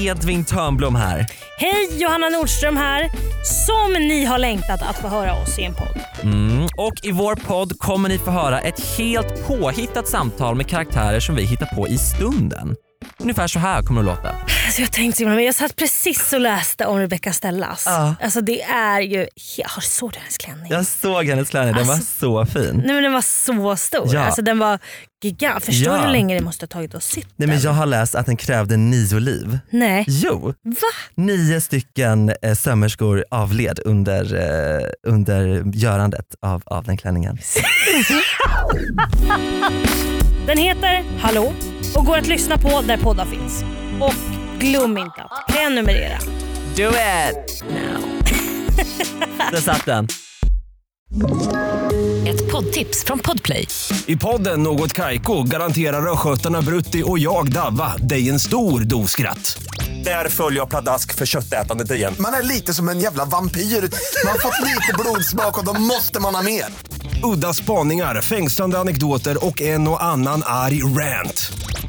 Edvin Törnblom här. Hej, Johanna Nordström här. Som ni har längtat att få höra oss i en podd. Mm. Och i vår podd kommer ni få höra ett helt påhittat samtal med karaktärer som vi hittar på i stunden. Ungefär så här kommer det att låta. Alltså jag tänkte men jag satt precis och läste om Rebecca Stellas. Ja. Alltså det är ju... Jag har såg du hennes klänning? Jag såg hennes klänning, den Alltså- var så fin. Nej men den var så stor. Ja. Alltså den var gigant. Förstår Ja. du hur länge det måste ha tagit att sitta? Nej, men jag har läst att den krävde nio liv. Nej. Jo, Va? nio stycken eh, sömmerskor avled under, eh, under görandet av, av den klänningen. Den heter Hallå och går att lyssna på där poddar finns. Och glöm inte att prenumerera. Do it! Now. Där satt den. Ett poddtips från Podplay. I podden Något Kaiko garanterar östgötarna Brutti och jag, Davva, dig en stor dos skratt. Där följer jag pladask för köttätandet igen. Man är lite som en jävla vampyr. Man har fått lite blodsmak och då måste man ha mer. Udda spaningar, fängslande anekdoter och en och annan arg rant.